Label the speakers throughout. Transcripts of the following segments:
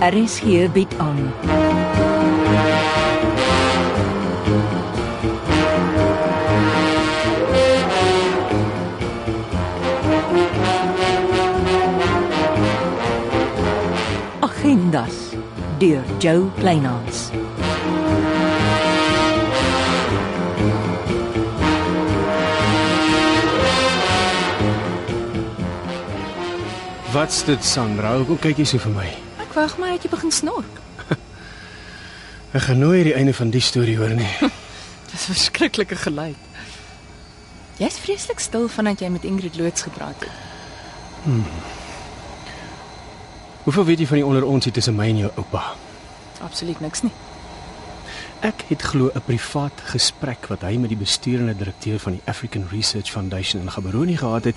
Speaker 1: RSG bied aan. Agendas deur Jo Kleinhans.
Speaker 2: Wat's dit Sandra? Hoekom kyk jy so vir my?
Speaker 3: Ek wag maar dat jy begin snork.
Speaker 2: Ek gaan nooit die einde van die storie hoor nie.
Speaker 3: Dis 'n verskriklike geluid. Jy's vreeslik stil vandat jy met Ingrid Loots gepraat het.
Speaker 2: Hoeveel weet jy van die onder ons hier tussen my en jou oupa?
Speaker 3: Absoluut niks nie.
Speaker 2: Ek het glo 'n privaat gesprek wat hy met die besturende direkteur van die African Research Foundation in Gaborone gehad het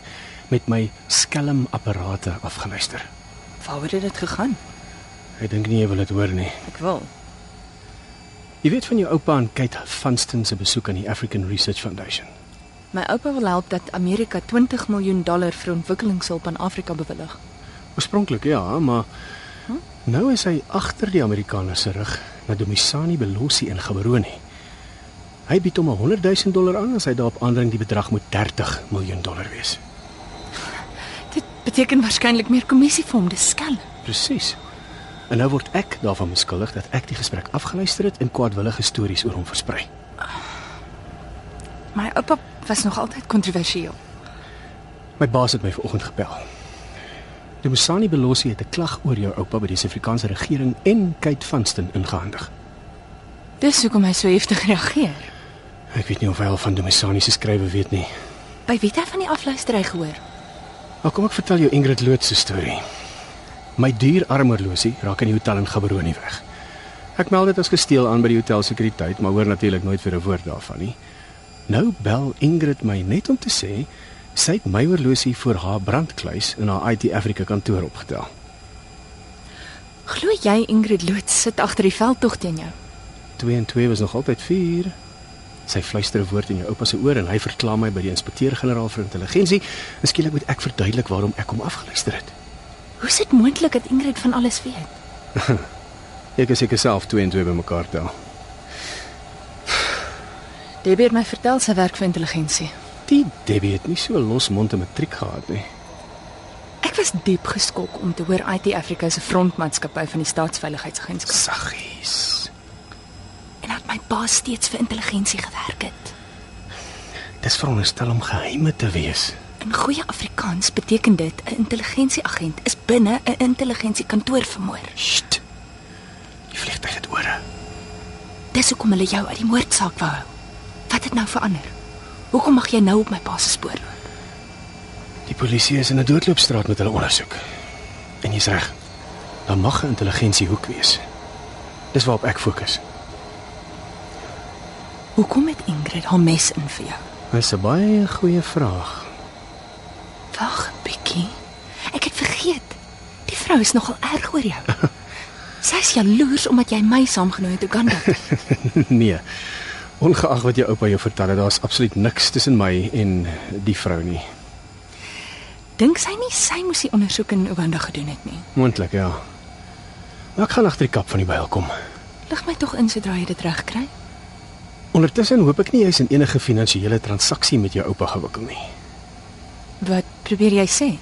Speaker 2: met my skelmapparate afgeluister.
Speaker 3: Waaroor het dit gegaan?
Speaker 2: Ek dink nie jy wil dit hoor nie.
Speaker 3: Ek wil.
Speaker 2: Jy weet van jou oupa en Kate Vanston se besoek aan die African Research Foundation.
Speaker 3: My oupa wil help dat Amerika 20 miljoen dollar vir ontwikkelingshulp aan Afrika bewillig.
Speaker 2: Oorspronklik ja, maar nou is hy agter die Amerikaners se rug na Domisani Belosi in Gaborone. Hy bied hom 100 000 dollar aan as hy daarop aandring die bedrag moet 30 miljoen dollar wees.
Speaker 3: Dit beteken waarskynlik meer kommissie vir hom, dis skelm.
Speaker 2: Presies. En nou word ek daarvan beskuldig dat ek die gesprek afgeluister het en kwaadwillige stories oor hom versprei.
Speaker 3: My oupa was nog altyd kontroversieel.
Speaker 2: My baas het my vanoggend gebel. Domisani Belosi het 'n klag oor jou oupa by die Suid-Afrikaanse regering en Kate Vanston ingehandig.
Speaker 3: Dis hoekom hy so heftig reageer.
Speaker 2: Ek weet nie of hy al van Domisani se skrywe weet nie.
Speaker 3: By wie het hy van die afluistery gehoor?
Speaker 2: Maar Nou, kom ek vertel jou Ingrid Loots se storie. My duur armoorlosie raak in die hotel in Gaborone weg. Ek meld dit as gesteel aan by die hotel sekuriteit, maar hoor natuurlik nooit weer 'n woord daarvan nie. Nou bel Ingrid my net om te sê sy het my oorlosie vir haar brandkluis in haar IT Africa kantoor opgetel.
Speaker 3: Glo jy Ingrid Loots sit agter die veldtog teen jou?
Speaker 2: 2 en 2 was nog altyd 4. Sy fluister 'n woord in jou oupa se oor en hy verklaar my by die inspekteur-generaal vir intelligensie. Miskien moet ek verduidelik waarom ek hom afgeluister het.
Speaker 3: Hoe is dit moontlik dat Ingrid van alles weet?
Speaker 2: Ek is seker self 2 en 2 bymekaar tel.
Speaker 3: Debbie het my vertel sy werk vir intelligensie.
Speaker 2: Die Debbie het nie so losmond 'n matriek gehad nie.
Speaker 3: Ek was diep geskok om te hoor IT Africa se frontmaatskappy van die staatsveiligheidsagentskap
Speaker 2: Saggies.
Speaker 3: en dat my pa steeds vir intelligensie gewerk het.
Speaker 2: Dis veronderstel om geheime te wees.
Speaker 3: In goeie Afrikaans beteken dit 'n intelligensieagent is binne 'n intelligensiekantoor vermoor.
Speaker 2: Sst. Die vliegtuig het ore.
Speaker 3: Dis hoekom hulle jou uit die moordsaak wou hou. Wat het nou verander? Hoekom mag jy nou op my pa se spoor loop?
Speaker 2: Die polisie is in 'n doodloopstraat met hulle ondersoek. En jy's reg. Daar mag 'n intelligensiehoek wees. Dis waarop ek fokus.
Speaker 3: Hoekom het Ingrid haar mes in vir jou?
Speaker 2: Dis 'n baie goeie vraag.
Speaker 3: Wag 'n bietjie. Ek het vergeet. Die vrou is nogal erg oor jou. Sy's jaloers omdat jy my saamgenooi het Uganda. toe.
Speaker 2: nee. Ongeag wat jou oupa jou vertel het, daar's absoluut niks tussen my en die vrou nie.
Speaker 3: Dink sy nie sy moes die ondersoek in Uganda gedoen het nie.
Speaker 2: Moontlik, ja. Maar ek gaan agter die kap van die byl kom.
Speaker 3: Lig my tog in sodra jy dit reg kry.
Speaker 2: Ondertussen hoop ek nie jy's in enige finansiële transaksie met jou oupa gewikkel nie.
Speaker 3: Wat probeer jy sê?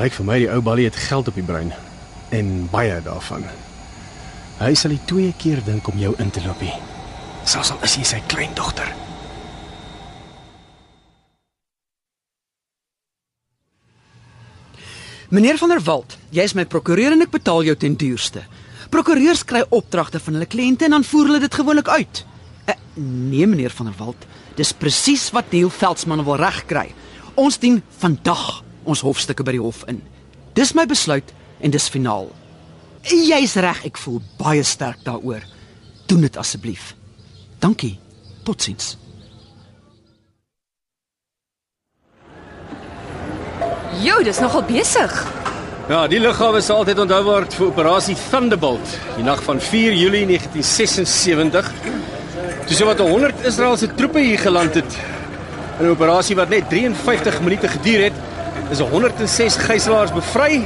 Speaker 2: Lyk vir my die ou Balie het geld op die brein en baie daarvan. Hy sal die twee keer dink om jou in te loop. hier. Selfs al is jy sy kleindogter.
Speaker 4: Meneer van der Walt, jy is my prokureur en ek betaal jou ten duurste. Prokureurs kry opdragte van hulle kliënte en dan voer hulle dit gewoonlik uit. Uh, nee meneer van der Walt, dis presies wat Neil Veldsmann wil regkry. Ons dien vandag ons hofstukke by die hof in. Dis my besluit en dis finaal. Jy's reg, ek voel baie sterk daaroor. Doen dit asseblief. Dankie. Totsiens.
Speaker 3: Jo, dis nogal besig.
Speaker 2: Ja, die lughawe sal altyd onthou word vir operasie Thunderbolt, die nag van 4 Julie 1976. Toe sowat 100 Israeliese troepe hier geland het. In 'n operasie wat net 53 minute geduur het, is 106 gijslaers bevry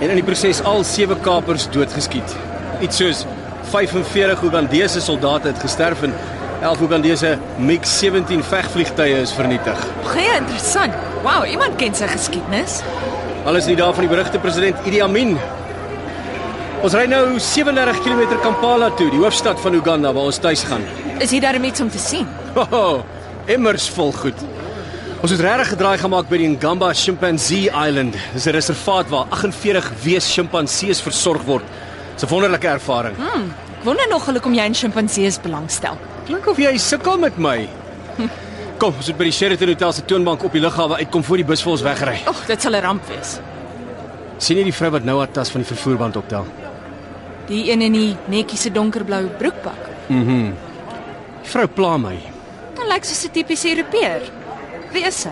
Speaker 2: en in die proses al sewe kapers doodgeskiet. Iets soos 45 Ugandese soldate het gesterf en 11 Ugandese MiG-17 vegvliegtuie is vernietig.
Speaker 3: Baie interessant. Wow, iemand ken sy geskiedenis.
Speaker 2: Alles nie daarvan die berugte president Idi Amin. Ons ry nou 37 km Kampala toe, die hoofstad van Uganda waar ons tuis gaan.
Speaker 3: Is hier darem iets om te sien?
Speaker 2: Hoho, immers vol goed. Ons het regtig gedraai gemaak by die Ngamba Chimpanzee Island. Dis 'n reservaat waar 48 wees sjimpansees versorg word. Dis 'n wonderlike ervaring.
Speaker 3: Ek wonder nog hoekom jy aan sjimpansees belangstel.
Speaker 2: Klink of jy sukkel met my. Kom, ons moet by die Sheraton Hotel se toonbank op die lughawe uitkom voor die bus vir ons wegry.
Speaker 3: Oeg, dit sal 'n ramp wees.
Speaker 2: sien jy die vrou wat nou haar tas van die vervoerband optel?
Speaker 3: Die een in die netjie se donkerblou broekpak.
Speaker 2: Die vrou pla my.
Speaker 3: Dan lyk soos 'n tipiese Europeër. Wie is sy?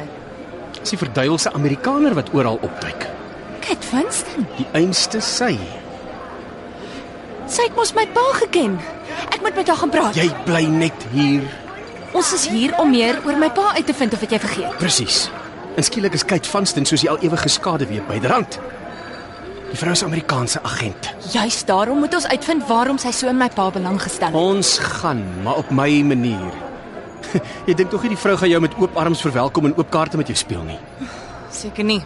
Speaker 2: Dis die verduiwelse Amerikaner wat oral opduik.
Speaker 3: Kate Winston.
Speaker 2: Die einste sy.
Speaker 3: Sy het mos my pa geken. Ek moet met haar gaan praat.
Speaker 2: Jy bly net hier.
Speaker 3: Ons is hier om meer oor my pa uit te vind of wat jy vergeet.
Speaker 2: Presies. En skielik is Kate Vanston soos die al ewige skade weer byderhand. Die vrou is 'n Amerikaanse agent.
Speaker 3: Juist daarom moet ons uitvind waarom sy so in my pa belang gestel het.
Speaker 2: Ons gaan, maar op my manier. Jy dink tog nie die vrou gaan jou met oop arms verwelkom en oop kaarte met jou speel nie.
Speaker 3: Seker nie.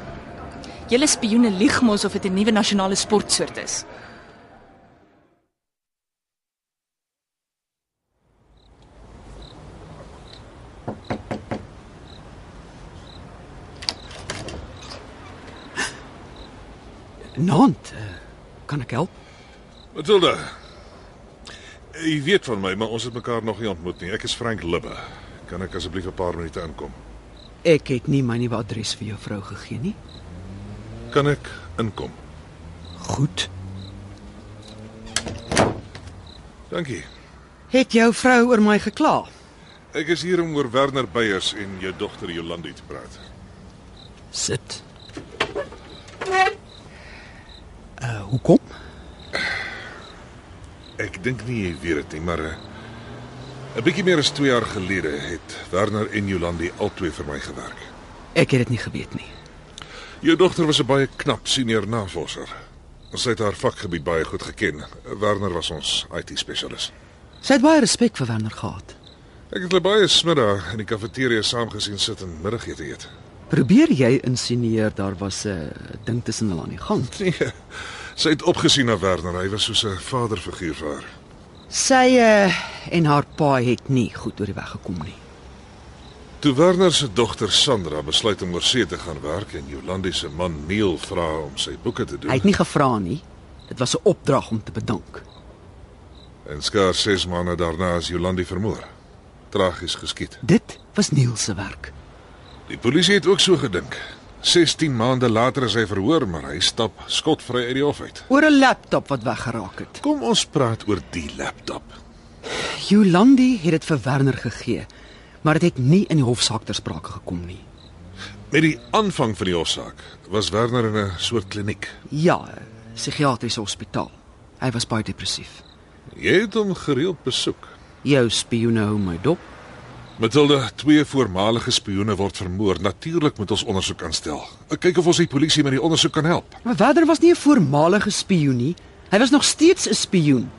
Speaker 3: Julle spioene lieg mos of dit 'n nuwe nasionale sportsoort is.
Speaker 4: Nant, eh, kan ek help?
Speaker 5: Matilda. Jy weet van my, maar ons het mekaar nog nie ontmoet nie. Ek is Frank Libbe. Kan ek asseblief 'n paar minute inkom?
Speaker 4: Ek het nie my nuwe adres vir jou vrou gegee nie.
Speaker 5: Kan ek inkom?
Speaker 4: Goed.
Speaker 5: Dankie.
Speaker 4: Het jou vrou oor my gekla?
Speaker 5: Ek is hier om oor Werner Beyers en jou dogter Jolandi te praat.
Speaker 4: Sit. Uh, hoekom?
Speaker 5: Ek dink nie jy weet dit nie, maar eh, 'n bietjie meer as 2 jaar gelede het Werner en Jolandi albei vir my gewerk.
Speaker 4: Ek het dit nie geweet nie.
Speaker 5: Jou dogter was 'n baie knap senior navorser. Sy het haar vakgebied baie goed geken. Werner was ons IT-spesialis.
Speaker 4: Sy het baie respek vir Werner gehad.
Speaker 5: Ek het hulle baie smiddag in die kafeteria saam gesien sit en middagete eet.
Speaker 4: Probeer jy insinieer daar was 'n ding tussen hulle aan die gang?
Speaker 5: Nee. Sy het opgesien na Werner. Hy was soos 'n vaderfiguur vir haar.
Speaker 4: Sy uh, en haar pa het nie goed oor die weg gekom nie.
Speaker 5: Toe Werner se dogter Sandra besluit om oor see te gaan werk en Jolandi se man Neil vra om sy boeke te doen.
Speaker 4: Hy het nie gevra nie. Dit was 'n opdrag om te bedank.
Speaker 5: En skaars 6 maande daarna is Jolandi vermoor. Tragies geskied.
Speaker 4: Dit was Neil se werk.
Speaker 5: Die polisie het ook so gedink. 16 maande later is hy verhoor, maar hy stap skotvry uit die hof uit.
Speaker 4: Oor 'n laptop wat weggeraak het.
Speaker 5: Kom ons praat oor die laptop.
Speaker 4: Jolandi het dit vir Werner gegee, maar dit het nie in die hofsaak ter sprake gekom nie.
Speaker 5: Met die aanvang van die hofsaak was Werner in 'n soort kliniek.
Speaker 4: Ja, psigiatriese hospitaal. Hy was baie depressief.
Speaker 5: Jy het hom gereeld besoek.
Speaker 4: Jou spioene hou my dop.
Speaker 5: Matilda, twee voormalige spioene word vermoor. Natuurlik moet ons ondersoek aanstel. Ek kyk of ons die polisie met die ondersoek kan help.
Speaker 4: Maar Werner was nie 'n voormalige spioen nie. Hy was nog steeds 'n spioen.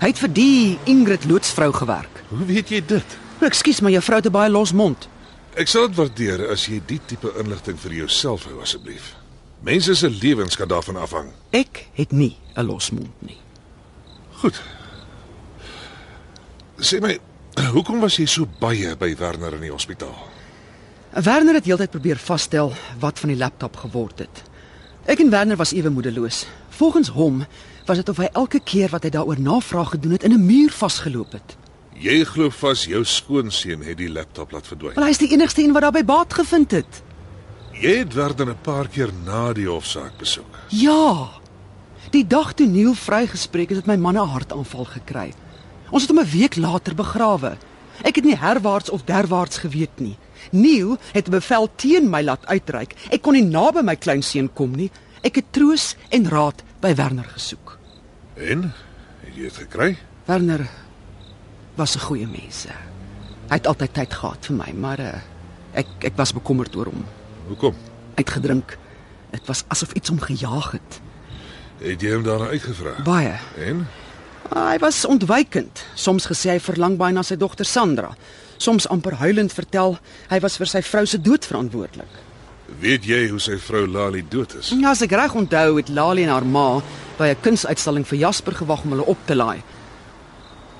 Speaker 4: Hy het vir die Ingrid loodsvrou gewerk.
Speaker 5: Hoe weet jy dit?
Speaker 4: Ekskuus, maar juffrou het 'n baie los mond.
Speaker 5: Ek sal dit waardeer as jy die tipe inligting vir jouself hou asseblief. Mense se lewens kan daarvan afhang.
Speaker 4: Ek het nie 'n los mond nie.
Speaker 5: Goed. Sê my, hoekom was jy so baie by Werner in die hospitaal?
Speaker 4: Werner het heeltyd probeer vasstel wat van die laptop geword het. Ek en Werner was ewe moedeloos. Volgens hom was dit of hy elke keer wat hy daaroor navraag gedoen het in 'n muur vasgeloop het.
Speaker 5: Jy glo vas jou skoonseun het die laptop laat verdwyn.
Speaker 4: Wel hy is die enigste een wat daarby baat gevind het.
Speaker 5: Jy het Werner 'n paar keer na die hofsaak besoek.
Speaker 4: Ja. Die dag toe Neil vrygespreek is, het my man 'n hartaanval gekry. Ons het hom 'n week later begrawe. Ek het nie herwaarts of derwaarts geweet nie. Neil het 'n bevel teen my laat uitreik. Ek kon nie naby my kleinseun kom nie. Ek het troos en raad by Werner gesoek.
Speaker 5: En het jy dit gekry?
Speaker 4: Werner was 'n goeie mens. Hy het altyd tyd gehad vir my, maar uh, ek ek was bekommerd oor hom.
Speaker 5: Hoekom?
Speaker 4: Uitgedrink. Dit was asof iets hom gejaag het.
Speaker 5: Het jy hom daarna uitgevra?
Speaker 4: Baie.
Speaker 5: En
Speaker 4: Ah, Hy was ontwykend. Soms gesê hy verlang baie na sy dogter Sandra. Soms amper huilend vertel hy was vir sy vrou se dood verantwoordelik.
Speaker 5: weet jy hoe sy vrou Lali dood is?
Speaker 4: Ja, as ek reg onthou, het Lali en haar ma by 'n kunsuitstalling vir Jasper gewag om hulle op te laai.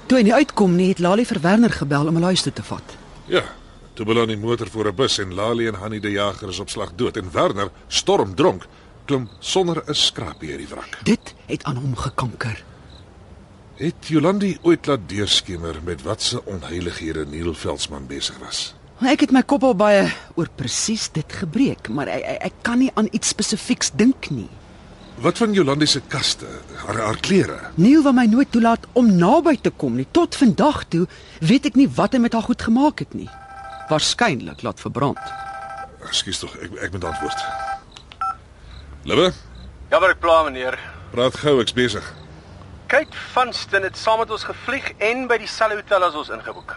Speaker 4: Toe hy nie uitkom nie, het Lali vir Werner gebel om hulle huis toe te vat.
Speaker 5: Ja. Toe bel aan die motor voor 'n bus en Lali en Hanni die jager is op slag dood en Werner, stormdronk, klim sonder 'n skrapie uit die wrak.
Speaker 4: Dit het aan hom gekanker.
Speaker 5: Het Jolandi ooit laat deurskemer met watse onheilighede Neil Veldsmann besig was?
Speaker 4: Ek het my kop al baie oor presies dit gebreek, maar ek, ek, ek kan nie aan iets spesifieks dink nie.
Speaker 5: Wat van Jolandi se kaste, haar haar klere?
Speaker 4: Neil wou my nooit toelaat om naby te kom nie. Tot vandag toe weet ek nie wat hy met haar goed gemaak het nie. Waarskynlik laat verbrand.
Speaker 5: Ekskuus tog, ek ek moet antwoord. Libbe,
Speaker 6: Jammer Ja, ek pla meneer.
Speaker 5: praat gou, ek's besig.
Speaker 6: Kate Vanston het saam met ons gevlieg en by dieselfde hotel as ons ingeboek.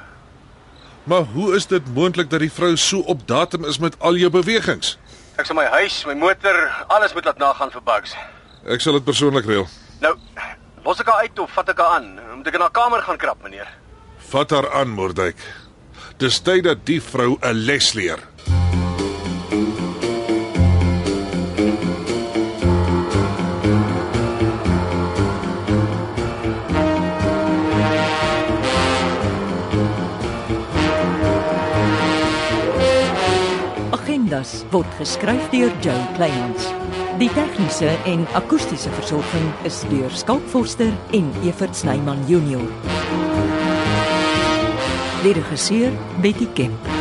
Speaker 5: Maar hoe is dit moontlik dat die vrou so op datum is met al jou bewegings?
Speaker 6: Ek sal my huis, my motor, alles moet laat nagaan vir bugs.
Speaker 5: Ek sal dit persoonlik reël.
Speaker 6: Nou, los ek haar uit of vat ek haar aan? Moet ek in haar kamer gaan krap meneer?
Speaker 5: Vat haar aan, Mordyk. Dis tyd dat die vrou 'n les leer.
Speaker 1: Agendas word geskryf deur Joe Kleinhans. Die tegniese en akoestiese versorging is deur Skalk Forster en Evert Snyman Junior. Die regisseur Betty Kemp.